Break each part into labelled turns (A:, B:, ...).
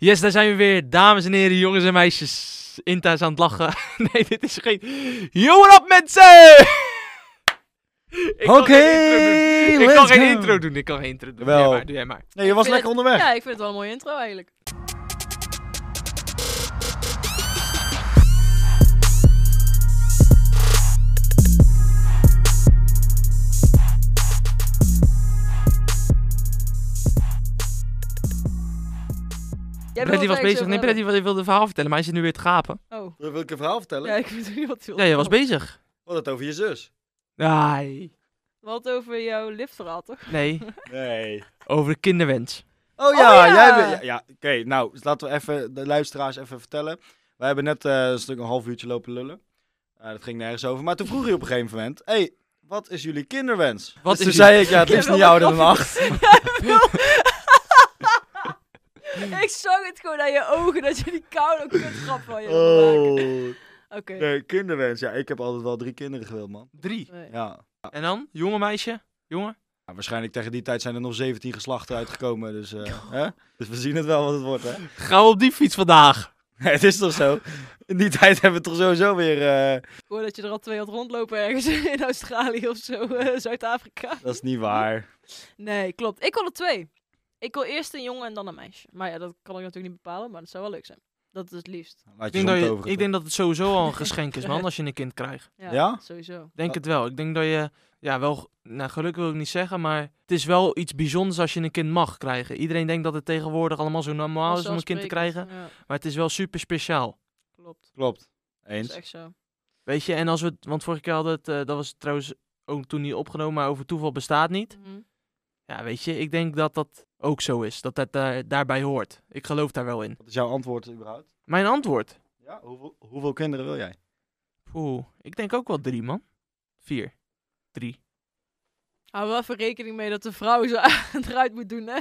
A: Yes, daar zijn we weer. Dames en heren, jongens en meisjes. Inta is aan het lachen. nee, dit is geen... Yo, what up, mensen! Ik kan
B: Oké,
A: geen intro doen. Ik
B: let's
A: kan geen
B: go.
A: intro doen. Ik kan geen intro doen. Doe
B: Wel.
A: jij maar, doe jij maar.
B: Nee, je was
C: vind
B: lekker
C: het-
B: onderweg.
C: Ja, ik vind het wel een mooie intro eigenlijk. Jij
A: Brady was bezig. Nee,
C: Brady.
A: Brady wilde een verhaal vertellen, maar hij zit nu weer te gapen.
C: Oh,
B: Wil ik een verhaal vertellen?
C: ja, ik weet niet wat je
A: Ja, jij was bezig.
B: Wat het over je zus?
A: Nee.
C: Wat over jouw liftverhaal, toch?
A: Nee,
B: Nee.
A: over de kinderwens.
B: Oh ja,
C: Oh ja.
B: jij bent... Ja, ja, oké. nou, dus laten we even de luisteraars even vertellen. Wij hebben net eh, een stuk een half uurtje lopen lullen. Eh, dat ging nergens over. Maar toen vroeg je op een gegeven moment... Hé, hey, wat is jullie kinderwens?
A: Wat
B: dus
A: is
B: toen
A: jullie-
B: zei ik, ja, het
C: Ik
B: liefst
C: heb
B: niet
C: wel
B: ouder dan
C: een
B: acht.
A: Hmm.
C: ik zag het gewoon aan je ogen dat je die koude kutgrap van je wilde maken.
B: Oh.
C: Oké.
B: Nee, kinderwens. Ja, ik heb altijd wel drie kinderen gewild, man.
A: Drie.
C: Nee.
B: Ja.
A: En dan? Jonge meisje? Jongen?
B: Ja, waarschijnlijk tegen die tijd zijn er nog 17 geslachten uitgekomen. Dus, eh, hè? dus we zien het wel wat het wordt, hè?
A: Gaan we op die fiets vandaag?
B: Nee, het is toch zo? In die tijd hebben we toch sowieso weer... eh,
C: Ik hoor dat je er al twee had rondlopen ergens in Australië of zo, eh, Zuid-Afrika.
B: Dat is niet waar.
C: Nee, klopt. Ik wil er twee. Ik wil eerst een jongen en dan een meisje. Maar ja, dat kan ik natuurlijk niet bepalen, maar dat zou wel leuk zijn. Dat is het liefst.
B: Laat
A: Ik
B: je
A: denk, dat
B: zond
A: je,
B: over.
A: ik denk dat het sowieso al een geschenk is, man, als je een kind krijgt.
C: Ja?
B: Ja?
C: Sowieso.
A: denk
B: Wa-
A: het wel. Ik denk dat je, ja, wel, g- nou, geluk wil ik niet zeggen, maar het is wel iets bijzonders als je een kind mag krijgen. Iedereen denkt dat het tegenwoordig allemaal zo normaal is om een kind te krijgen,
C: Ja,
A: maar het is wel super speciaal.
C: klopt.
B: Klopt.
C: Dat is
B: Eens.
C: echt zo.
A: Weet je, en als we, het- want vorige keer hadden we het, eh, dat was trouwens ook toen niet opgenomen, maar over toeval bestaat niet.
C: Mhm.
A: Ja, weet je, ik denk dat dat ook zo is, dat dat daar- daarbij hoort. Ik geloof daar wel in.
B: Wat is jouw antwoord überhaupt?
A: Mijn antwoord?
B: Ja, hoeveel, hoeveel kinderen wil jij?
A: Oeh, ik denk ook wel drie, man. Vier. Drie.
C: Hou wel even rekening mee dat de vrouw zo eruit moet doen, hè?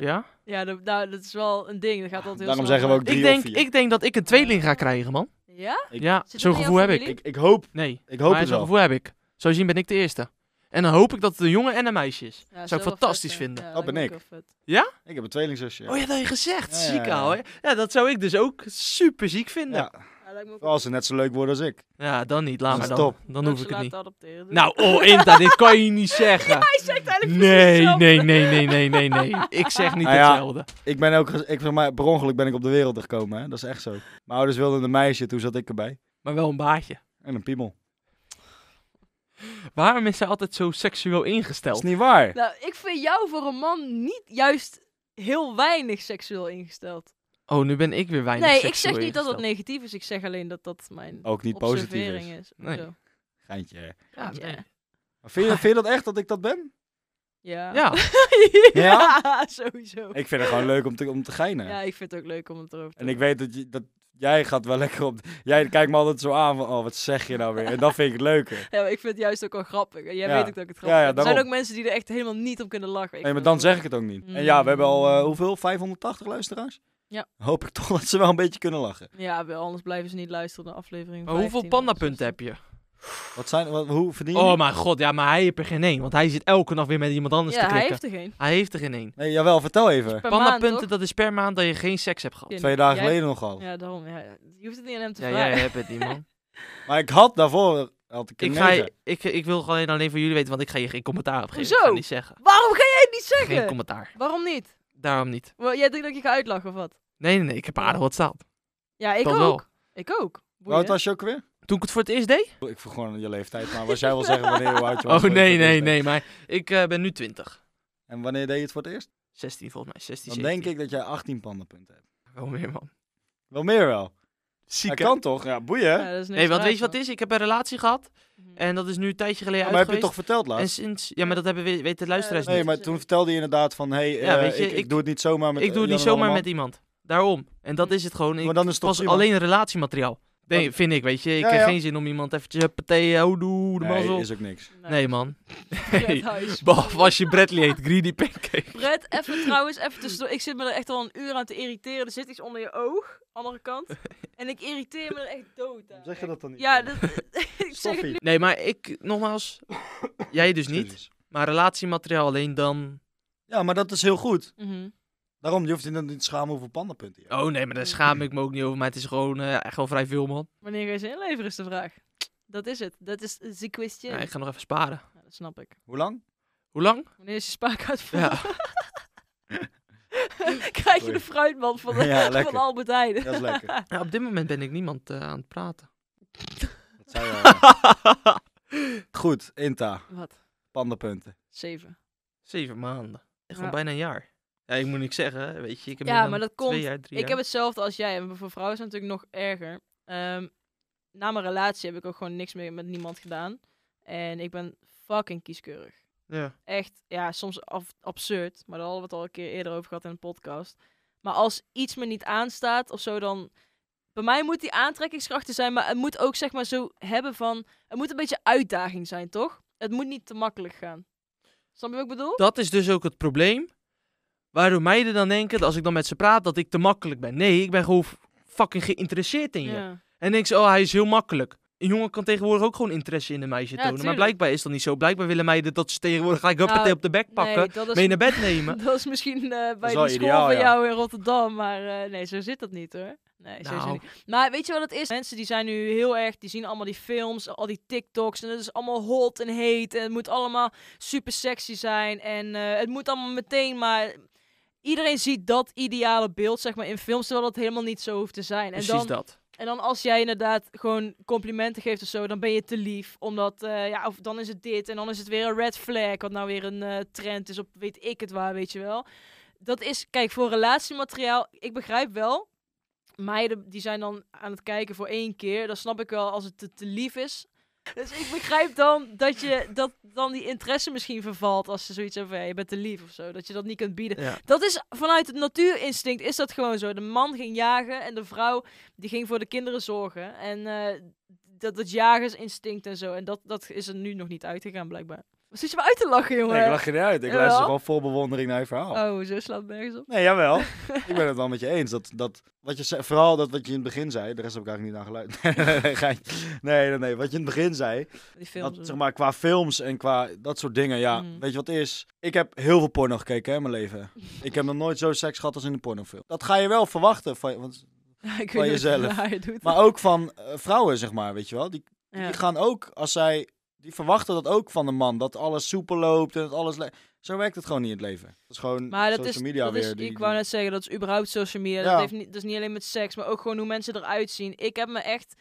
A: Ja?
C: Ja, dat, nou, dat is wel een ding. Dat gaat altijd heel
B: Daarom
C: snel
B: zeggen we ook
C: uit.
B: Drie
A: Ik
B: of
A: denk,
B: vier?
A: ik denk dat ik een tweeling ga krijgen, man.
C: Ja?
B: Ik-
A: ja,
C: Zit
A: zo'n
C: dat in
A: gevoel
C: jouw
A: heb ik.
C: familie?
B: Ik, ik hoop,
A: Nee.
B: ik hoop
A: maar
B: het
A: zo'n
B: wel.
A: gevoel heb ik. Zo zien ben ik de eerste. En dan hoop ik dat het een jongen en een meisje is.
C: Ja, dat
A: zou ik
C: wel vet
A: fantastisch
C: zijn.
A: vinden.
C: Ja,
B: Dat ben
C: lijkt
B: ik.
C: me ook wel vet.
B: Ik heb een tweelingzusje.
A: Oh ja, dat had je gezegd.
B: Ja, ja,
A: ziek
B: ja.
A: ouwe. ja, dat zou ik dus ook super ziek vinden. Ja,
B: Ja,
C: Ja, lijkt me ook wel
B: als ze net zo leuk worden als ik.
A: dan niet. Laat
B: Dat
A: maar dan.
B: is top.
A: Dan
C: leuk
A: hoef ik
C: ze
A: het niet.
C: laten adopteren. Dus-
A: Nou, oh Inta, dit kan je niet zeggen.
C: Hij zegt eigenlijk precies
A: Nee,
C: hetzelfde.
A: nee, nee, nee, nee, nee, nee. Ik zeg niet
B: Ah, ja.
A: hetzelfde.
B: Ik ben ook, gez- ik, zeg maar, per ongeluk ben ik op de wereld gekomen, hè? Dat is echt zo. Mijn ouders wilden een meisje, toen zat ik erbij.
A: Maar wel een baardje.
B: En een piemel.
A: Waarom is zij altijd zo seksueel
B: Dat is
A: ingesteld?
B: niet waar.
C: Nou, ik vind jou voor een man niet juist heel weinig seksueel ingesteld.
A: Oh, nu ben ik weer weinig
C: nee, ik
A: seksueel
C: zeg niet dat dat
A: ingesteld. Oh,
C: negatief is. Ik zeg alleen dat dat mijn
B: Ook niet positief
C: observering
B: is.
C: is. of
A: Nee.
C: zo.
B: Geintje. hè?
C: Ja,
A: Ja, nee.
B: Maar vind, je, vind je dat echt dat ik dat ben?
C: Ja.
A: Ja,
C: Ja, sowieso.
B: Ik vind het gewoon leuk om te, om te geinen.
C: Ja, ik vind het ook leuk om het erover te
B: En ik weet dat, je, dat jij gaat wel lekker op... Jij kijkt me altijd zo aan van, oh, wat zeg je nou weer? En dat vind ik het leuker.
C: Ja, maar ik vind het juist ook wel grappig. En Jij
B: Ja.
C: weet ook dat ik het grappig
B: Ja, ja,
C: vind. Er zijn
B: daarom.
C: ook mensen die er echt helemaal niet om kunnen lachen.
B: Nee,
C: Ik
B: maar
C: vind
B: dan
C: het
B: zeg
C: wel-
B: ik het ook niet. En ja, we hebben al,
A: Mm.
B: eh, hoeveel? 580 luisteraars?
C: Ja.
B: Hoop ik toch dat ze wel een beetje kunnen lachen.
C: Ja, wel, anders blijven ze niet luisteren naar aflevering
A: maar hoeveel
C: 15
A: pandapunten heb je?
B: Wat zijn... Wat, hoe verdien je...
A: Oh mijn god, ja, maar hij heeft er geen één. Want hij zit elke nacht weer met iemand
C: Ja,
A: anders te
C: hij
A: klikken.
C: heeft er geen.
A: Hij heeft er geen één.
B: Nee, jawel, vertel even.
C: Per maand,
A: Pandapunten,
C: toch?
A: dat is per maand dat je geen seks hebt gehad.
C: Ja.
B: Twee dagen
C: Jij-
B: geleden nogal.
C: Ja, daarom. Ja, je hoeft het niet aan hem te
A: Ja,
C: vragen.
A: jij hebt het niet, man.
B: Maar ik had daarvoor... Had ik een
A: ik, ga,
B: negen.
A: je- ik, ik wil gewoon alleen van jullie weten, want ik ga je geen commentaar op geven. Ik
C: Hoezo?
A: ga niet zeggen.
C: Waarom ga jij het niet zeggen?
A: Geen commentaar.
C: Waarom niet?
A: Daarom niet.
C: Wel, Jij denkt dat ik je ga uitlachen of wat?
A: Nee, nee, nee. Ik heb aardig wat staan.
C: Ja, ik
A: Dat
C: ook.
A: wel.
C: Ik ook.
B: Hoe oud
C: Boeien.
B: was je ook weer?
A: Toen ik het voor het eerst deed?
B: Ik vroeg gewoon je leeftijd, maar was jij wel zeggen wanneer hoe oud je was?
A: Oh,
B: voor je
A: nee,
B: het
A: nee,
B: eerst deed?
A: nee. Maar ik eh, ben nu 20.
B: En wanneer deed je het voor het eerst?
A: 16 volgens mij. 16,
B: Dan denk ik dat jij 18 pandenpunten hebt.
A: Wel meer, man.
B: Wel meer wel. Hij
A: Ziek, hè?
B: kan toch? Ja, boeien.
C: Ja, dat is niks
A: Nee, want
C: raars,
A: weet je wat
C: man.
A: het is? Ik heb een relatie gehad.
C: Mhm.
A: En dat is nu een tijdje geleden
B: maar
A: uit
B: heb je toch verteld laatst?
A: En sinds... Ja, maar dat hebben we, weten de luisteraars
C: Eh,
A: niet.
B: Nee, maar toen vertelde je inderdaad van, hé, hey,
A: Ja,
B: eh,
A: weet je,
B: ik, ik
A: ik-
B: doe het niet zomaar met eh,
A: ik doe het
B: Jan
A: niet
B: en
A: zomaar
B: allemaal.
A: met iemand. Daarom. En dat is het gewoon. Ik
B: Maar dan is het toch
A: was
B: prima?
A: alleen relatiemateriaal. Nee,
B: Wat?
A: vind ik, weet je. Ik
B: Ja,
A: heb
B: ja.
A: geen zin om iemand eventjes huppatee, eh, houdoe, de mazzel.
B: Nee, is ook niks.
A: Nee, man.
C: Fred, hou je
A: Behalve
C: smoel.
A: als je Bradley heet, Greedy Pancake.
C: Fred, even trouwens, even tussendoor. Ik zit me er echt al een uur aan te irriteren. Er zit iets onder je oog, andere kant. En ik irriteer me er echt dood aan.
B: Zeg je dat dan niet?
C: Ja, dat, ik zeg het nu.
A: Nee, maar ik, nogmaals, jij dus niet. Maar relatiemateriaal alleen dan.
B: Ja, maar dat is heel goed.
C: Mhm.
B: Daarom, je hoeft je dan niet te schamen hoeveel pandapunten je hebt.
A: Oh nee, maar daar schaam ik me ook niet over. Maar het is gewoon eh, echt wel vrij veel, man.
C: Wanneer ga je ze inleveren, is de vraag. Dat is het. Dat is de question.
A: Ja, ik ga nog even sparen.
C: Ja, dat snap ik.
B: Hoe lang?
A: Hoe lang?
C: Wanneer is je spaarkaart vol?
A: Ja.
C: Krijg je
B: Oei.
C: de fruitman van, de-
B: Ja, lekker.
C: van Albert Heijn.
B: Dat is lekker.
A: Ja, Nou, op dit moment ben ik niemand eh, aan het praten.
B: Dat zou je- Goed, Inta,
C: Wat?
B: pandapunten.
C: Zeven.
A: Zeven maanden. Echt al
C: Ja.
A: bijna een jaar. Ja, ik moet niks zeggen, hè, weet je. Ik heb
C: Ja,
A: meer dan
C: maar dat
A: twee
C: komt-
A: Jaar, drie
C: Ik heb
A: jaar.
C: hetzelfde als jij. En voor vrouwen is het natuurlijk nog erger. Ehm, na mijn relatie heb ik ook gewoon niks meer met niemand gedaan. En ik ben fucking kieskeurig.
A: Ja.
C: echt, ja, soms af- absurd. Maar daar hadden we het al een keer eerder over gehad in een podcast. Maar als iets me niet aanstaat of zo, dan... Bij mij moet die aantrekkingskracht er zijn, maar het moet ook zeg maar zo hebben van... Het moet een beetje uitdaging zijn, toch? Het moet niet te makkelijk gaan. Snap je wat ik bedoel?
A: Dat is dus ook het probleem. Waardoor meiden dan denken, dat als ik dan met ze praat, dat ik te makkelijk ben. Nee, ik ben gewoon f- fucking geïnteresseerd in je.
C: ja.
A: En denk ze, oh, hij is heel makkelijk. Een jongen kan tegenwoordig ook gewoon interesse in een meisje
C: Ja,
A: tonen. Maar
C: tuurlijk.
A: blijkbaar is dat niet zo. Blijkbaar willen meiden dat ze tegenwoordig gelijk huppatee
C: Nou,
A: op de bek pakken.
C: Nee, dat
A: mee
C: is,
A: naar bed nemen.
C: dat is misschien
B: is
C: eh, bij die
B: wel
C: school
B: ideaal,
C: van
B: ja.
C: jou in Rotterdam, maar eh, nee, zo zit dat niet hoor. Nee, zo
A: Nou.
C: niet. Maar weet je wat het is? Mensen die zijn nu heel erg, die zien allemaal die films, al die TikToks en het is allemaal hot en heet en het moet allemaal super sexy zijn en eh, het moet allemaal meteen maar... Iedereen ziet dat ideale beeld, zeg maar, in films, terwijl dat helemaal niet zo hoeft te zijn.
A: Precies
C: en dan,
A: dat.
C: en dan als jij inderdaad gewoon complimenten geeft of zo, dan ben je te lief. Omdat, eh, ja, of dan is het dit en dan is het weer een red flag. Wat nou weer een eh, trend is op weet ik het waar, weet je wel. Dat is, kijk, voor relatiemateriaal, ik begrijp wel. Meiden die zijn dan aan het kijken voor één keer. Dat snap ik wel als het te, te lief is. Dus ik begrijp dan dat je dat dan die interesse misschien vervalt als ze zoiets hebben van ja, je bent te lief of zo. Dat je dat niet kunt bieden.
A: Ja.
C: Dat is vanuit het natuurinstinct is dat gewoon zo. De man ging jagen en de vrouw die ging voor de kinderen zorgen. En eh, dat, dat jagersinstinct en zo. En dat, dat is er nu nog niet uitgegaan blijkbaar. Wat zit je me uit te lachen, jongen?
B: Nee, ik lach je niet uit. Ik
C: Jawel.
B: luister gewoon vol bewondering naar je verhaal.
C: Oh, zo slaat het nergens op.
B: Nee, jawel. ik ben het wel met je eens. Dat, dat, wat je zei, vooral dat wat je in het begin zei. De rest heb ik eigenlijk niet aan geluid. Nee, nee, geintje. nee, nee, nee. Wat je in het begin zei.
C: Die films.
B: Dat, zeg maar, qua films en qua dat soort dingen. Ja,
C: Mm.
B: weet je wat het is? Ik heb heel veel porno gekeken hè, in mijn leven. ik heb nog nooit zo seks gehad als in een pornofilm. Dat ga je wel verwachten. Van, want,
C: ik
B: van
C: weet niet
B: jezelf.
C: waar je doet.
B: maar ook van eh, vrouwen, zeg maar. Weet je wel? Die,
C: ja.
B: die gaan ook, als zij... Die verwachten dat ook van de man. Dat alles soepel loopt en dat alles... le- Zo werkt het gewoon niet in het leven. Het is gewoon
C: Maar dat
B: social
C: is,
B: media
C: dat
B: weer.
C: is
B: die-
C: ik wou
B: die-
C: net zeggen, dat is überhaupt social media.
B: Ja.
C: Dat, heeft niet, dat is niet alleen met seks, maar ook gewoon hoe mensen eruit zien. Ik heb me echt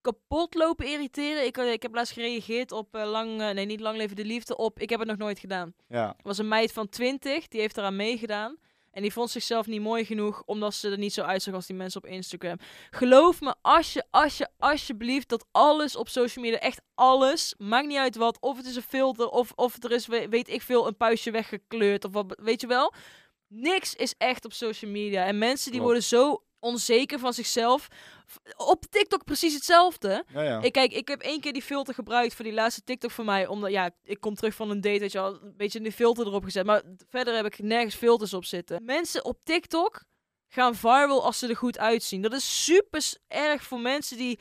C: kapot lopen irriteren. Ik, eh, ik heb laatst gereageerd op eh, lang, eh, nee niet lang leven de liefde op. Ik heb het nog nooit gedaan.
B: Ja,
C: was een meid van 20, die heeft eraan meegedaan. En die vond zichzelf niet mooi genoeg, omdat ze er niet zo uitzag als die mensen op Instagram. Geloof me, alsje, alsje, alsjeblieft, dat alles op social media, echt alles, maakt niet uit wat, of het is een filter, of, of er is, we- weet ik veel, een puistje weggekleurd, of wat, weet je wel. Niks is echt op social media. En mensen die
B: Klopt.
C: worden zo onzeker van zichzelf. V- Op TikTok precies hetzelfde.
B: ja, ja.
C: Ik kijk, ik heb één keer die filter gebruikt voor die laatste TikTok van mij. Omdat, ja, ik kom terug van een date, weet je wel. Een beetje die filter erop gezet. Maar verder heb ik nergens filters op zitten. Mensen op TikTok gaan viral als ze er goed uitzien. Dat is super s- erg voor mensen die,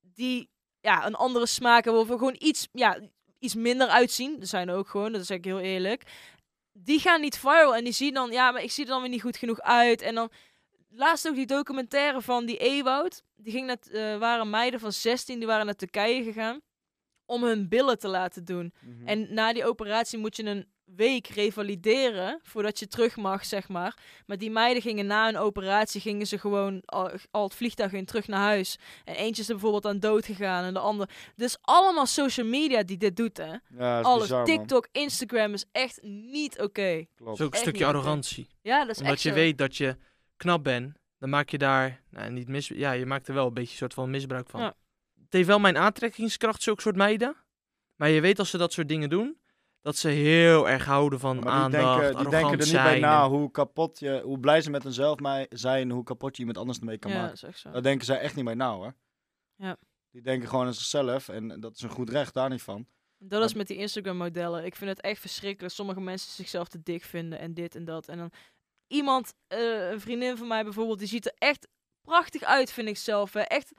C: die ja, een andere smaak hebben. Of gewoon iets, ja, iets minder uitzien. Er zijn er ook gewoon, dat is eigenlijk heel eerlijk. Die gaan niet viral en die zien dan... Ja, maar ik zie er dan weer niet goed genoeg uit. En dan laatst ook die documentaire van die Ewoud. Die ging net, eh, waren meiden van 16, die waren naar Turkije gegaan om hun billen te laten doen.
B: Mhm.
C: En na die operatie moet je een week revalideren voordat je terug mag, zeg maar. Maar die meiden gingen na een operatie, gingen ze gewoon al, al het vliegtuig in terug naar huis. En eentje is er bijvoorbeeld aan dood gegaan en de ander. Dus allemaal social media die dit doet, hè.
B: Ja, dat is
C: Alles,
B: bizar, man.
C: TikTok, Instagram is echt niet oké.
A: Dat
B: Klopt.
A: is ook een
C: Echt
A: stukje
C: niet oké.
A: arrogantie.
C: Ja, dat is
A: Omdat
C: echt
A: je
C: zo.
A: weet dat je knap bent, dan maak je daar nou, niet mis. Ja, je maakt er wel een beetje soort van misbruik van.
C: Ja.
A: Het heeft wel mijn aantrekkingskracht, zulke soort meiden. Maar je weet als ze dat soort dingen doen, dat ze heel erg houden van
B: Ja, maar
A: aandacht,
B: die denken, die
A: arrogant
B: denken er niet
A: zijn.
B: bij na
A: en-
B: hoe kapot je, hoe blij ze met hunzelf mij- zijn, hoe kapot je iemand anders ermee kan
C: ja, dat
B: maken.
C: is echt zo.
B: Daar denken zij echt niet bij na hoor.
C: Ja.
B: Die denken gewoon aan zichzelf en dat is een goed recht, daar niet van.
C: Dat
B: Maar-
C: is met die Instagram-modellen. Ik vind het echt verschrikkelijk. Sommige mensen zichzelf te dik vinden en dit en dat. En dan iemand, eh, een vriendin van mij bijvoorbeeld, die ziet er echt prachtig uit, vind ik zelf. hè. Echt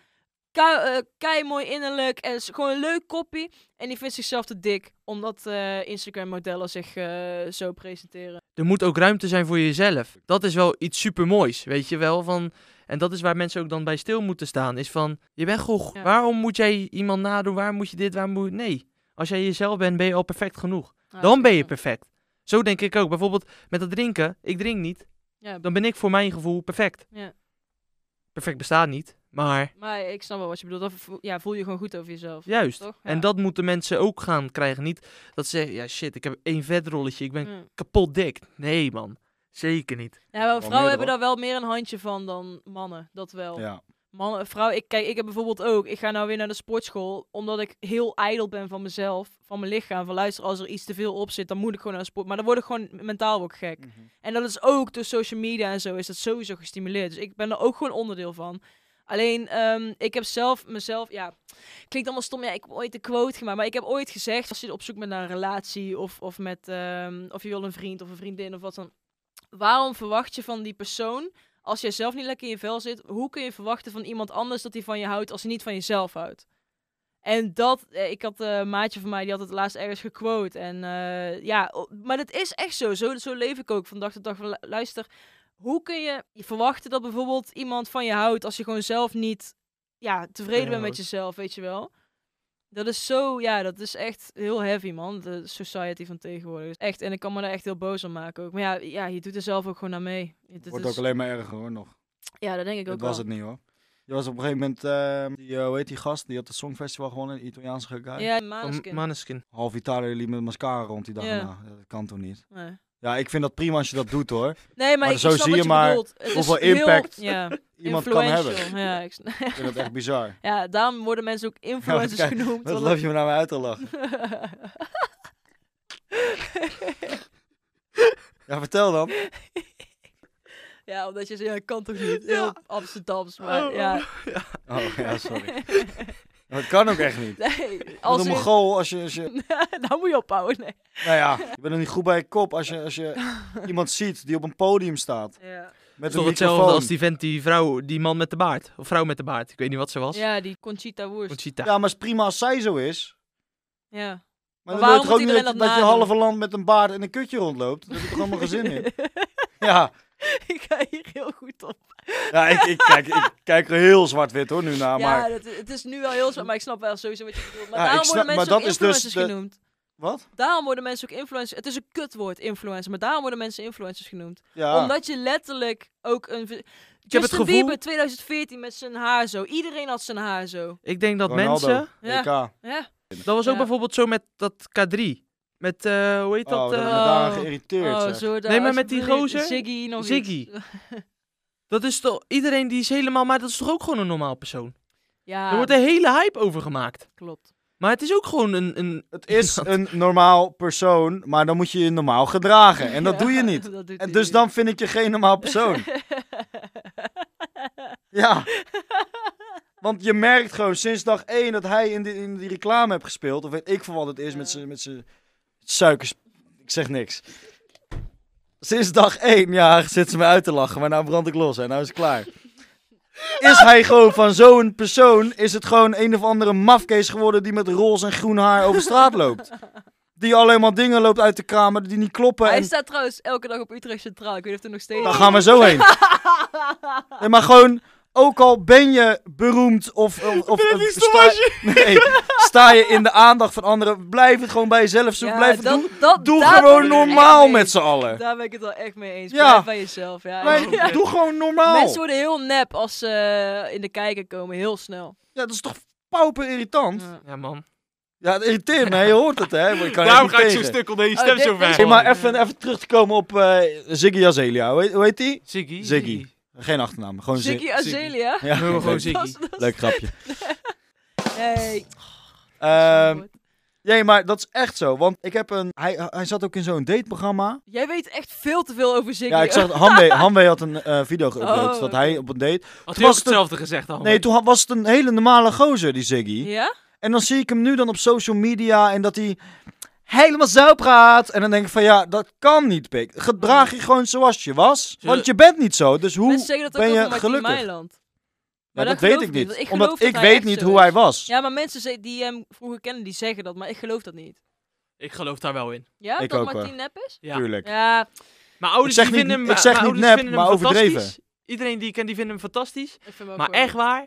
C: kei mooi innerlijk en is gewoon een leuk koppie. En die vindt zichzelf te dik, omdat eh, Instagram-modellen zich eh, zo presenteren.
A: Er moet ook ruimte zijn voor jezelf. Dat is wel iets supermoois, weet je wel. Van, en dat is waar mensen ook dan bij stil moeten staan. Is van, je bent goch.
C: Ja.
A: Waarom moet jij iemand nadoen? Waar moet je dit? Waar moet... Nee. Als jij jezelf bent, ben je al perfect genoeg.
C: Ja,
A: Dan ben je
C: ja.
A: perfect. Zo denk ik ook. Bijvoorbeeld met dat drinken. Ik drink niet.
C: Ja,
A: Dan ben ik voor mijn gevoel perfect.
C: Ja.
A: Perfect bestaat niet. Maar
C: maar ik snap wel wat je bedoelt. Dan voel, ja, voel je gewoon goed over jezelf.
A: juist.
C: Toch? Ja.
A: En dat moeten mensen ook gaan krijgen. Niet dat ze zeggen, ja shit, ik heb één vetrolletje. Ik ben
C: Ja.
A: kapot dik. Nee man, zeker niet.
C: Mm. Ja, maar vrouwen
B: meer,
C: hebben
B: hoor.
C: daar wel meer een handje van dan mannen. Dat wel.
B: Ja.
C: Mannen, vrouwen, ik, kijk, ik heb bijvoorbeeld ook. Ik ga nou weer naar de sportschool. Omdat ik heel ijdel ben van mezelf. Van mijn lichaam. Van luister, als er iets te veel op zit, dan moet ik gewoon naar de sport. Maar dan word ik gewoon mentaal ook gek. En dat is ook door social media en zo. Is dat sowieso gestimuleerd. Dus ik ben er ook gewoon onderdeel van. Alleen, ehm, ik heb zelf mezelf, ja, klinkt allemaal stom. Ja, ik heb ooit een quote gemaakt, maar ik heb ooit gezegd, als je op zoek bent naar een relatie of, of met, ehm, of je wil een vriend of een vriendin of wat dan. Waarom verwacht je van die persoon, als jij zelf niet lekker in je vel zit, hoe kun je verwachten van iemand anders dat hij van je houdt als hij niet van jezelf houdt? En dat, eh, ik had eh, een maatje van mij, die had het laatst ergens gequote. En eh, ja, o- maar dat is echt zo. zo. Zo leef ik ook van dag tot dag. Van, lu- Luister, hoe kun je verwachten dat bijvoorbeeld iemand van je houdt als je gewoon zelf niet ja, tevreden
A: je
C: bent met
A: houdt.
C: jezelf, weet je wel? Dat is zo, ja, dat is echt heel heavy, man. De society van tegenwoordig. Dus echt, en ik kan me daar echt heel boos aan maken ook. Maar ja, ja je doet er zelf ook gewoon aan mee. Dit
B: Wordt
C: is-
B: ook alleen maar erger hoor nog.
C: ja, dat denk ik ook
B: Dat
C: wel.
B: was het niet hoor. Je was op een gegeven moment, eh, die, eh, hoe heet die gast? Die had het Songfestival gewonnen, een Italiaanse guy.
C: Ja,
A: Van
C: Maneskin.
A: Maneskin.
B: Half Italië liep met mascara rond die dag
C: Ja.
B: erna. Dat kan toch niet?
C: nee.
B: Ja, ik vind dat prima als je dat doet hoor.
C: Nee, maar,
B: Maar
C: ik
B: zo
C: ik snap
B: zie
C: wat
B: je
C: je
B: maar
C: bedoelt. Het is
B: hoeveel
C: heel-
B: impact
C: ja,
B: Iemand kan hebben.
C: influential. Ja, ik sn-
B: Ik vind dat echt bizar.
C: ja, daarom worden mensen ook influencers
B: kijk,
C: genoemd.
B: Wat
C: want
B: loop je me naar me uit te lachen? Ja, vertel dan.
C: ja, omdat je zegt, ja, ik kan toch niet? Heel Amsterdams, maar
A: Oh,
C: ja.
B: Oh ja, sorry. Dat kan ook echt niet.
C: Nee,
B: Als
C: als
B: een
C: je...
B: Mongool, als je, als je...
C: nou moet je ophouden, nee.
B: Nou ja, je bent er niet goed bij je kop als je, als je iemand ziet die op een podium staat.
C: Ja,
A: Het
B: Met
A: is
B: een
A: toch hetzelfde
B: microfoon.
A: als die vent, die vrouw, die man met de baard. Of vrouw met de baard. Ik weet niet wat ze was.
C: ja die Conchita Wurst.
A: Conchita.
B: Ja, maar is prima als zij zo is.
C: Ja.
B: Maar, dan wil
C: Maar
B: je
C: waarom
B: toch ook
C: moet
B: niet dat,
C: iedereen
B: dat,
C: dat
B: je
C: nadoen?
B: halve land met een baard en een kutje rondloopt? Daar heb je toch allemaal gezin in? Ja,
C: ik ga hier heel goed op.
B: ja ik, ik, kijk, ik kijk er heel zwart-wit hoor nu naar.
C: ja,
B: Ah, Maar
C: dat, het is nu wel heel zwaar, maar ik snap wel sowieso wat je bedoelt. Maar
B: Ja, ik
C: daarom
B: snap-
C: worden
B: maar
C: mensen ook
B: dat is dus
C: influencers
B: de-
C: genoemd.
B: wat?
C: Daarom worden mensen ook influencers. Het is een kutwoord, influencer. Maar daarom worden mensen influencers genoemd.
B: Ja.
C: Omdat je letterlijk ook een. Ik
A: heb
C: Justin
A: het gevoel-
C: Bieber 2014 met zijn haar zo. Iedereen had zijn haar zo.
A: Ik denk dat
B: Ronaldo. Oh,
A: mensen...
C: Ja.
B: EK.
C: Ja.
A: Dat was ook
C: Ja.
A: bijvoorbeeld zo met dat K3. Met, eh, hoe heet
B: Oh, dat
A: dat?
B: heb ik me
A: eh,
B: daaraan
C: oh.
B: geïrriteerd.
C: Oh,
B: zeg.
C: zo daar,
A: Nee, maar met die
C: alsjeblieft.
A: gozer?
C: Ziggy nog iets.
A: Ziggy. dat is toch... Iedereen die is helemaal... Maar dat is toch ook gewoon een normaal persoon?
C: Ja,
A: Er wordt een hele hype over gemaakt.
C: klopt.
A: Maar het is ook gewoon een... een...
B: Het is een normaal persoon, maar dan moet je je normaal gedragen. En dat
C: Ja,
B: doe je niet.
C: dat doet
B: En
C: hij
B: dus
C: niet.
B: dan vind ik je geen normaal persoon. Ja. Want je merkt gewoon sinds dag één dat hij in die, in die reclame heeft gespeeld. Of weet ik van wat het is met zijn met zijn suikers. Ik zeg niks. Sinds dag één, ja, zit ze me uit te lachen. Maar nou brand ik los en nou is het klaar. Is hij gewoon van zo'n persoon, is het gewoon een of andere mafkees geworden die met roze en groen haar over straat loopt. Die alleen maar dingen loopt uit de kamer die niet kloppen.
C: Hij
B: en-
C: staat trouwens elke dag op Utrecht Centraal. Ik weet niet of er nog steeds.
B: dan gaan we zo heen. Nee, maar gewoon, ook al ben je beroemd of... of, of
A: het
B: of
A: niet stom
B: sta-
A: als
B: Nee, sta je in de aandacht van anderen, blijf het gewoon bij jezelf zoeken,
C: Ja,
B: blijf het
C: dat-
B: doen.
C: dat-
B: Doe
C: daar ben
B: gewoon
C: ik het echt
B: normaal
C: mee
B: met
C: eens.
B: z'n allen.
C: Daar ben ik het wel echt mee eens.
B: Ja.
C: Blijf bij jezelf. Ja.
B: Nee,
C: Ja.
B: Doe gewoon normaal.
C: Mensen worden heel nep als ze eh, in de kijker komen. Heel snel.
A: Oh,
B: Ja, dat is toch pauper irritant?
C: Ja.
A: Ja, man.
B: Ja, het irriteert me, je hoort het hè. maar Ik kan er
A: Daarom
B: niet
A: ga ik zo
B: tegen.
A: stuk onder je
C: Oh,
A: stem
C: dit-
A: zo
C: dit is-
A: ver.
B: Hey, maar even, even terug te komen op eh, Ziggy Azelia. Hoe heet, hoe heet die?
A: Ziggy.
B: Ziggy. Geen achternaam, gewoon Ziggy.
C: Ziggy Azelia.
B: Ja,
A: Noemen we gewoon
B: leuk-
A: Ziggy.
C: Dat is- dat is-
B: Leuk grapje.
C: Nee.
B: Ehm,
C: Goed.
B: nee, maar dat is echt zo. Want ik heb een... Hij, hij zat ook in zo'n dateprogramma.
C: Jij weet echt veel te veel over Ziggy.
B: Ja, ik zag Hanwee, Hanwee had een eh, video geüpload
C: Oh,
B: dat hij op een date.
A: Had hij ook
B: hij ook was de- hetzelfde
A: hetzelfde gezegd al?
B: Nee, toen ha- was het een hele normale gozer die Ziggy.
C: Ja?
B: En dan zie ik hem nu dan op social media en dat hij helemaal zo praat en dan denk ik van ja, dat kan niet, pik. Gedraag je gewoon zoals je was,
A: Zullen-
B: want je bent niet zo. Dus hoe
C: Mensen zeggen dat ook
B: ben
C: over
B: je
C: Martien
B: gelukkig?
C: Meiland. Maar
B: dat,
C: dat
B: weet
C: geloof
B: ik
C: ik niet,
B: niet.
C: want ik
B: omdat
C: geloof dat
B: ik
C: hij
B: weet
C: echt
B: niet
C: zo
B: hoe
C: is.
B: hij was.
C: Ja, maar mensen ze- die hem vroeger kennen, die zeggen dat, maar ik geloof dat niet.
A: Ik geloof daar wel in.
C: Ja,
B: Ik
C: dat
B: ook,
C: Martien nep is?
A: Ja.
B: Tuurlijk.
C: Ja,
A: Mijn ouders
B: Ik zeg
A: die
B: niet-
A: vinden hem,
B: ik zeg
A: mijn
B: niet
A: ouders
B: nep,
A: vinden
B: maar
A: hem
B: overdreven.
A: fantastisch. Iedereen die ik ken, die vinden hem fantastisch.
C: ik vind hem ook
A: Maar
C: wel-
A: echt waar,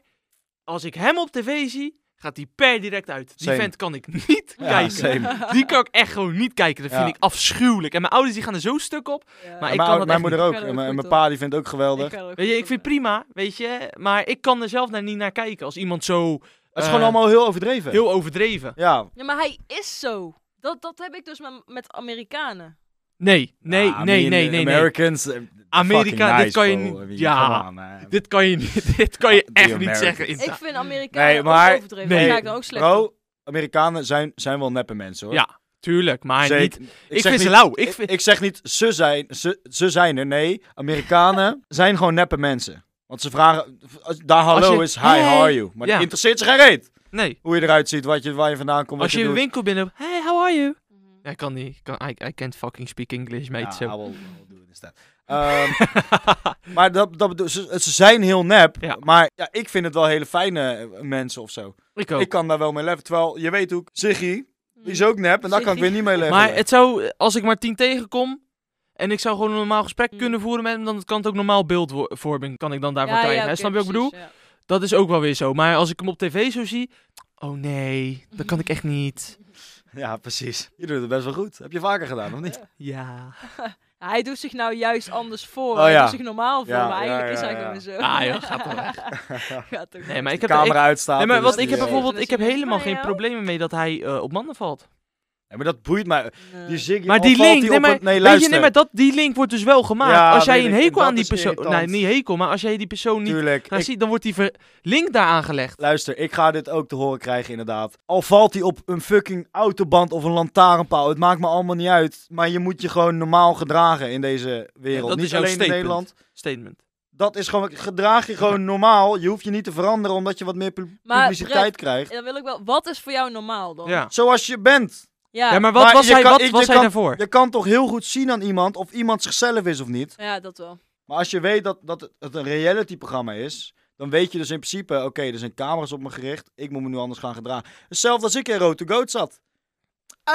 A: als ik hem op tv zie, gaat die per direct uit. Die
B: Same.
A: vent kan ik niet
B: Ja,
A: kijken.
B: same.
A: Die kan ik echt gewoon niet kijken. Dat vind
B: Ja.
A: ik afschuwelijk. En mijn ouders die gaan er zo stuk op.
C: Ja.
A: maar ik
B: mijn
A: kan
B: ou-
A: dat
B: mijn
A: echt
B: moeder
C: niet.
B: ook.
C: Ik ga
B: En
C: er ook
B: mijn- en
C: goed
B: mijn pa die vindt het ook geweldig.
C: Ik ga er ook
A: Weet je,
C: goed
A: ik vind
C: op,
A: prima, weet je. Maar ik kan er zelf naar, niet naar kijken als iemand zo
B: Het is
A: Eh,
B: gewoon allemaal heel overdreven.
A: heel overdreven.
B: Ja.
C: ja. Ja, maar hij is zo. Dat, dat heb ik dus met, met Amerikanen.
A: Nee, nee,
B: Ja, I
A: nee,
B: mean,
A: nee,
B: eh,
A: nee, nee.
B: Americans. eh,
A: Amerika,
B: fucking
A: dit
B: nice,
A: kan je
B: bro.
A: niet-
B: I mean,
A: ja.
B: come on, man.
A: Dit kan je, niet- dit kan je
B: The
A: echt niet
B: Americans.
A: zeggen. in-
C: Ik vind Amerikanen
B: Nee, maar-
C: ook overdreven.
A: nee.
C: Daar ga ik dan ook slecht op.
B: Bro, Amerikanen zijn, zijn wel neppe mensen hoor.
A: Ja, tuurlijk, maar
B: Zeker.
A: niet. Ik
B: zeg
A: vind
B: niet-
A: ze lauw. Ik
B: Ik,
A: vind,
B: ik zeg niet ze zijn, ze, ze zijn er. Nee, Amerikanen zijn gewoon neppe mensen. Want ze vragen, als- daar hallo
A: Als je-
B: is, hi,
A: Hey.
B: how are you? Maar
A: Ja.
B: het interesseert ze geen reet.
A: nee,
B: Hoe je eruit ziet, wat je, waar je vandaan
A: als
B: komt, wat
A: je
B: je,
A: een
B: doet.
A: winkel binnen... Hey, how are you?
C: Mhm.
A: Hij kan niet. Kan, I, I can't fucking speak English, mate.
B: Ja,
A: zo.
B: I will- I will do it instead. Ehm, maar dat, dat bedoel, ze, ze zijn heel nep.
A: Ja.
B: Maar ja, ik vind het wel hele fijne eh, mensen of zo.
A: Ik ook.
B: Ik kan daar wel mee leven. Terwijl, je weet ook, Ziggy, die is ook nep. En daar kan ik
C: Ziggy.
B: weer niet mee leven.
A: maar het zou, als ik maar tien tegenkom... En ik zou gewoon een normaal gesprek
C: Mm.
A: kunnen voeren met hem, dan kan het ook normaal beeldvorming kan ik dan daarvan
C: Ja, ja,
A: krijgen. hè?
C: oké,
A: Snap je wat ik bedoel?
C: precies, ja.
A: Dat is ook wel weer zo. Maar als ik hem op tv zo zie, oh nee, dat kan ik echt niet.
B: Ja, precies. Je doet het best wel goed. Heb je vaker gedaan, of niet?
A: Ja.
C: Hij doet zich nou juist anders voor.
B: Oh,
C: Hij
B: ja.
C: doet zich normaal voor,
B: Ja,
C: maar
B: ja,
C: eigenlijk
B: ja,
C: is hij
B: ja.
C: gewoon zo.
A: Ah joh, gaat toch weg.
C: Gaat toch
A: Nee, maar ik
B: De
A: heb,
B: camera
A: ik,
B: uitstaat.
A: nee, maar
B: dus
A: wat,
B: die,
A: ik heb
B: eh,
A: bijvoorbeeld, ik heb
C: Ja.
A: helemaal geen problemen mee dat hij eh, op mannen valt.
B: Nee, maar dat boeit mij.
C: Nee.
B: Die Ziggy,
A: Maar
B: al
A: die
B: valt
A: link,
B: die
A: nee,
B: op
A: maar,
B: een- nee,
A: weet je,
B: luister.
A: nee, maar dat, die link wordt dus wel gemaakt.
B: Ja,
A: als jij
B: weet
A: een
B: ik,
A: hekel
B: dat
A: aan die
B: is
A: persoon, nee,
B: irritant.
A: niet hekel, maar als jij die persoon niet
B: Tuurlijk.
A: naar
B: Ik-
A: ziet, dan wordt die ver- link daar aangelegd.
B: luister, ik ga dit ook te horen krijgen inderdaad. Al valt hij op een fucking autoband of een lantaarnpaal. Het maakt me allemaal niet uit. Maar je moet je gewoon normaal gedragen in deze wereld.
A: dat
B: niet
A: is jouw
B: alleen in
A: statement.
B: Nederland.
A: Statement.
B: Dat is gewoon, gedraag je gewoon normaal. Je hoeft je niet te veranderen omdat je wat meer pu-
C: Maar,
B: publiciteit
C: Brett,
B: krijgt.
C: Dan wil ik wel... Wat is voor jou normaal dan?
A: Ja.
B: Zoals je bent.
C: Ja,
A: ja, maar wat
B: Maar
A: was
B: je
A: hij,
B: kan-
A: wat
B: ik- je
A: was hij
B: kan-
A: daarvoor?
B: Je kan toch heel goed zien aan iemand of iemand zichzelf is of niet.
C: ja, dat wel.
B: Maar als je weet dat, dat het een realityprogramma is, dan weet je dus in principe, oké, er zijn camera's op me gericht, ik moet me nu anders gaan gedragen. Hetzelfde als ik in Road to Goat zat.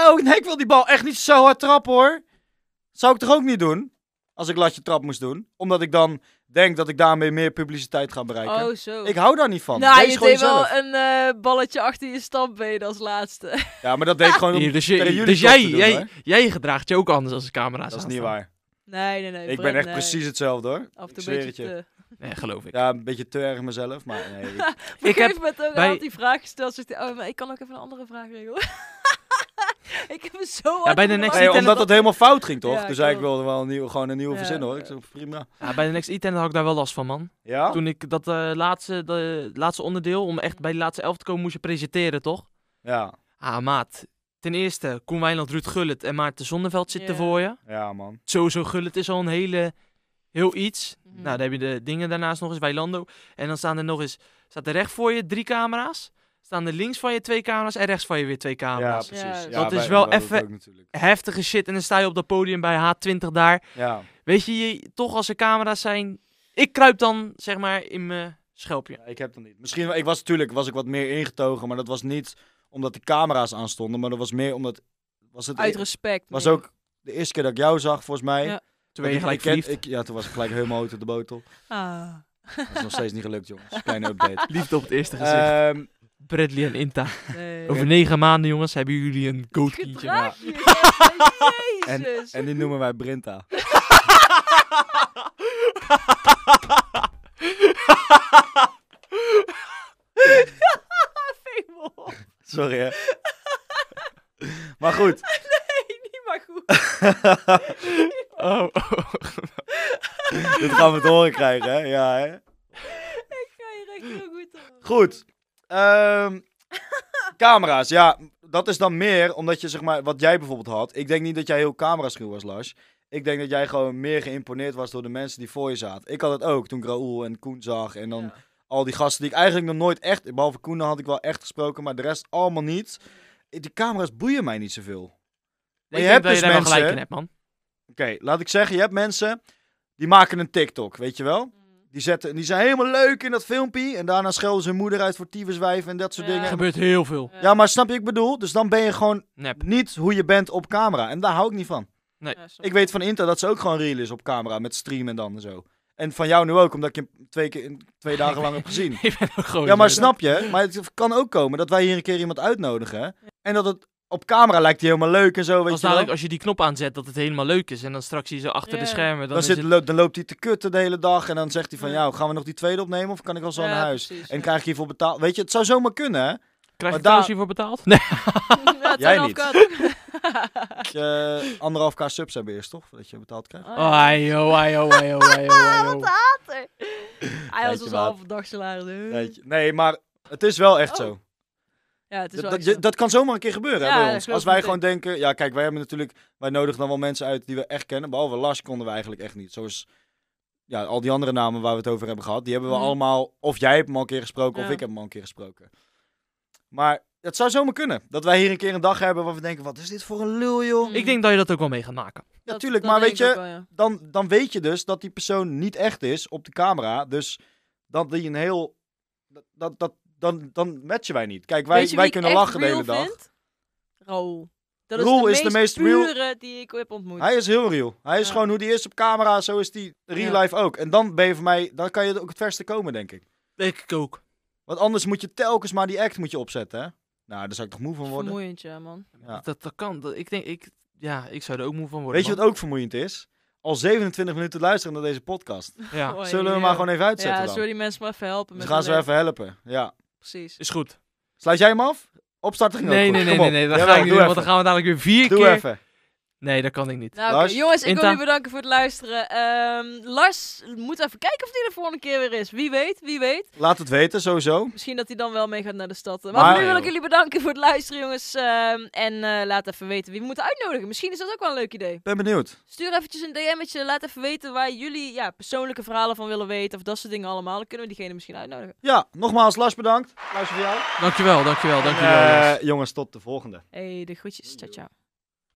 B: Oh, nee, ik wil die bal echt niet zo hard trappen hoor. Zou ik toch ook niet doen, als ik latje trap moest doen? Omdat ik dan denk dat ik daarmee meer publiciteit ga bereiken.
C: Oh, zo.
B: Ik hou daar niet van.
C: nou,
B: Wees
C: je
B: gewoon
C: deed wel
B: jezelf.
C: een eh, balletje achter je stampbeen als laatste.
B: Ja, maar dat deed ik gewoon om
A: Hier, dus
B: tegen
A: je-
B: jullie
A: dus
B: top
A: jij,
B: te doen,
A: jij,
B: hoor.
A: jij gedraagt je ook anders als de camera's
B: Dat is
A: aanstaan.
B: niet waar.
C: Nee, nee, nee.
B: Ik
C: Brett,
B: ben echt
C: nee.
B: precies hetzelfde hoor.
C: Af en
B: Ik
C: toe
B: zweer
C: een
B: het
C: beetje
B: je.
C: te...
A: Nee, geloof ik.
B: Ja, een beetje te erg mezelf, maar nee. ik-
C: Op een
A: Ik heb
C: gegeven moment ook,
A: bij-
C: hij had die vraag gesteld. Zegt hij, oh, maar ik kan ook even een andere vraag regelen. ik heb me zo hard
A: bij
C: op
A: de next
C: maag
B: Nee,
A: Ziet en
B: omdat
A: dat-
B: het helemaal fout ging, toch?
C: Ja,
B: dus ik
C: klopt.
B: wilde wel een nieuwe, gewoon een nieuwe
C: Ja,
B: verzinnen, hoor. Ik
C: ja.
B: zei, prima.
A: Ja, bij de Next e had ik daar wel last van, man.
B: Ja?
A: Toen ik dat eh, laatste, de, laatste onderdeel, om echt bij de laatste elf te komen, moest je presenteren, toch?
B: Ja.
A: Ah, maat. Ten eerste, Koen Wijnland, Ruud Gullit en Maarten Zonneveld zitten
C: Ja.
A: voor je.
B: Ja, man.
A: Sowieso Gullit is al een hele, heel iets.
C: Mhm.
A: Nou, dan heb je de dingen daarnaast nog eens, Wijlando. En dan staan er nog eens, staat er recht voor je drie camera's. Staan er links van je twee camera's en rechts van je weer twee
B: Ja,
A: camera's.
B: precies.
C: Ja,
B: Ja,
C: dat
B: wij-
A: is wel
B: wij doen het
A: effe-
B: ook natuurlijk.
A: Heftige shit. En dan sta je op dat podium bij H20 daar.
B: Ja.
A: Weet je, je toch als er camera's zijn... Ik kruip dan, zeg maar, in mijn schelpje.
B: Ja, ik heb dat niet. Misschien, wel- ik was natuurlijk was ik wat meer ingetogen, maar dat was niet omdat de camera's aanstonden, maar dat was meer omdat... Was het e-
C: Uit respect.
B: was
C: meer.
B: ook de eerste keer dat ik jou zag, volgens mij.
C: Ja.
A: Toen ben je
B: Ik-
A: gelijk
B: ik ken-
A: verliefd.
B: ik- Ja, toen was ik gelijk helemaal uit de botel.
C: Ah.
B: Dat is nog steeds niet gelukt, jongens. Kleine update.
A: Liefde op het eerste
B: Ehm,
A: Eh, Bradley en Inta.
C: Nee.
A: Over negen maanden, jongens, hebben jullie een goatkindje.
C: Gedraag je je echt,
B: En-
C: Jezus.
B: en die noemen wij Brinta.
C: Vemel.
B: Sorry, hè. maar goed.
C: Nee, niet maar goed.
A: Oh,
B: Dit gaan we te horen krijgen, hè? Ja, hè?
C: Ik ga hier echt heel goed op.
B: Goed. Ehm, camera's, ja. Dat is dan meer omdat je, zeg maar, wat jij bijvoorbeeld had. Ik denk niet dat jij heel cameraschuw was, Lars. Ik denk dat jij gewoon meer geïmponeerd was door de mensen die voor je zaten. Ik had het ook toen ik Raoul en Koen zag. En dan
C: Ja.
B: al die gasten die ik eigenlijk nog nooit echt... Behalve Koen had ik wel echt gesproken, maar de rest allemaal niet. Die camera's boeien mij niet zoveel.
A: ik
B: je
A: denk
B: hebt
A: dat
B: dus
A: je daar wel
B: mensen,
A: gelijk
B: hè?
A: in hebt, man.
B: Oké, laat ik zeggen, je hebt mensen die maken een TikTok, weet je wel? Die, zetten, die zijn helemaal leuk in dat filmpje. En daarna schelden ze hun moeder uit voor tyfuswijf en dat soort
C: Ja.
A: Er
B: dingen.
A: gebeurt heel veel.
B: Ja, maar snap je wat ik bedoel? Dus dan ben je gewoon
A: Nep.
B: niet hoe je bent op camera. En daar hou ik niet van.
C: Ja, snap
B: Ik weet van Inta dat ze ook gewoon real is op camera met streamen en dan en zo. En van jou nu ook, omdat ik je hem twee, keer, in- twee dagen lang heb gezien.
A: Ik ben ook gewoon
B: Ja, maar
A: zo.
B: snap je? Maar het kan ook komen dat wij hier een keer iemand uitnodigen. hè? En dat het op camera lijkt hij helemaal leuk en zo, weet
A: Als
B: je wel.
A: dadelijk als je die knop aanzet dat het helemaal leuk is en dan straks zie je zo achter
C: Ja.
A: de schermen dan,
B: Dan,
A: is
B: zit,
A: het...
B: lo- dan loopt hij te kutten de hele dag en dan zegt hij van...
C: Ja.
B: jou, gaan we nog die tweede opnemen of kan ik al zo
C: Ja,
B: naar huis?
C: precies,
B: En
C: ja.
B: krijg ik hiervoor betaald? Weet je, het zou zomaar kunnen, hè?
A: krijg je
B: daar-
A: daar hiervoor betaald? Nee.
C: Ja,
B: Jij
C: 2,5
B: niet.
C: kaart.
B: Dat je eh, anderhalf k subs hebben eerst, toch? Voordat je betaald krijgt.
A: Oh, ayo, ayo, ayo, ayo,
B: Ah,
C: Ah,
A: ayo.
C: Hij was
B: Rijtje
C: ons
B: water.
C: halve dag salaris.
B: Weet je. Nee, maar het is wel echt
C: Oh,
B: zo.
C: Ja, het is
B: Dat,
C: wel
B: dat,
C: echt zo.
B: je- dat kan zomaar een keer gebeuren
C: Ja,
B: hè, bij
C: dat
B: ons.
C: geloof
B: Als
C: ik
B: wij
C: meteen.
B: gewoon denken... Ja, kijk, wij hebben natuurlijk... Wij nodigen dan wel mensen uit die we echt kennen. Behalve Lars konden we eigenlijk echt niet. Zoals ja, al die andere namen waar we het over hebben gehad. Die hebben we
C: Mhm.
B: allemaal... Of jij hebt hem al een keer gesproken of
C: Ja.
B: ik heb hem al een keer gesproken. Maar het zou zomaar kunnen. Dat wij hier een keer een dag hebben waar we denken... Wat is dit voor een lul, joh?
C: Mhm.
A: Ik denk dat je dat ook wel mee gaat maken.
B: Ja,
C: Dat-
B: tuurlijk.
C: dat
B: Maar
C: denk
B: weet
C: ik ook
B: je...
C: wel, ja.
B: Dan, dan weet je dus dat die persoon niet echt is op de camera. Dus dat die een heel... Dat, dat, dat- dan, dan matchen wij niet. Kijk, wij,
C: Weet je
B: wij
C: wie
B: kunnen
C: ik echt
B: lachen de hele
C: real
B: dag.
C: vind? Raoul. Dat
B: Raoul
C: is de meest
B: real-
C: pure die ik heb ontmoet.
B: Hij is heel real. Hij is
C: Ja.
B: gewoon hoe die is op camera, zo is die real
C: Ja.
B: life ook. En dan ben je voor mij, dan kan je ook het verste komen, denk ik.
A: Denk ik ook.
B: Want anders moet je telkens maar die act moet je opzetten, hè? Nou, daar zou ik toch moe van worden.
C: Vermoeiend, ja, man.
B: Ja.
A: Dat, dat kan. Dat, ik denk, ik, ja, ik zou er ook moe van worden.
B: Weet je wat
A: man.
B: ook vermoeiend is? Al 27 minuten luisteren naar deze podcast.
A: Ja,
B: Zullen we maar gewoon even uitzetten
C: Ja,
B: dan?
C: zullen die mensen maar even helpen?
B: Dus
C: met
B: gaan
C: hun
B: ze
C: leven?
B: even helpen. Ja.
C: Precies.
A: is goed.
B: Sluit jij hem af? Opstart ging ook
A: Nee,
B: goed.
A: nee, nee,
B: Kom
A: nee,
B: op.
A: nee, dat
B: Jawel,
A: ga ik niet doen,
B: doe
A: want dan
B: even.
A: gaan we dadelijk weer vier
B: Doe
A: keer...
B: even.
A: Nee, dat kan ik niet.
C: Nou, oké.
B: Lars?
C: jongens, ik wil
A: Inta?
C: jullie bedanken voor het luisteren. Ehm, Lars moet even kijken of hij de volgende keer weer is. Wie weet, wie weet.
B: Laat het weten, sowieso.
C: Misschien dat hij dan wel mee gaat naar de stad. Maar,
B: Maar-
C: voor nu wil ik jullie bedanken voor het luisteren, jongens. Ehm, en eh, laat even weten wie we moeten uitnodigen. Misschien is dat ook wel een leuk idee.
B: Ben benieuwd.
C: Stuur eventjes een DM'tje. Laat even weten waar jullie ja, persoonlijke verhalen van willen weten. Of dat soort dingen allemaal. Dan kunnen we diegene misschien uitnodigen.
B: Ja, nogmaals, Lars bedankt. Luister voor jou.
A: Dankjewel, dankjewel, dankjewel.
B: Eh,
A: jongens.
B: jongens, tot de volgende.
C: hey, de groetjes. Ciao, ciao.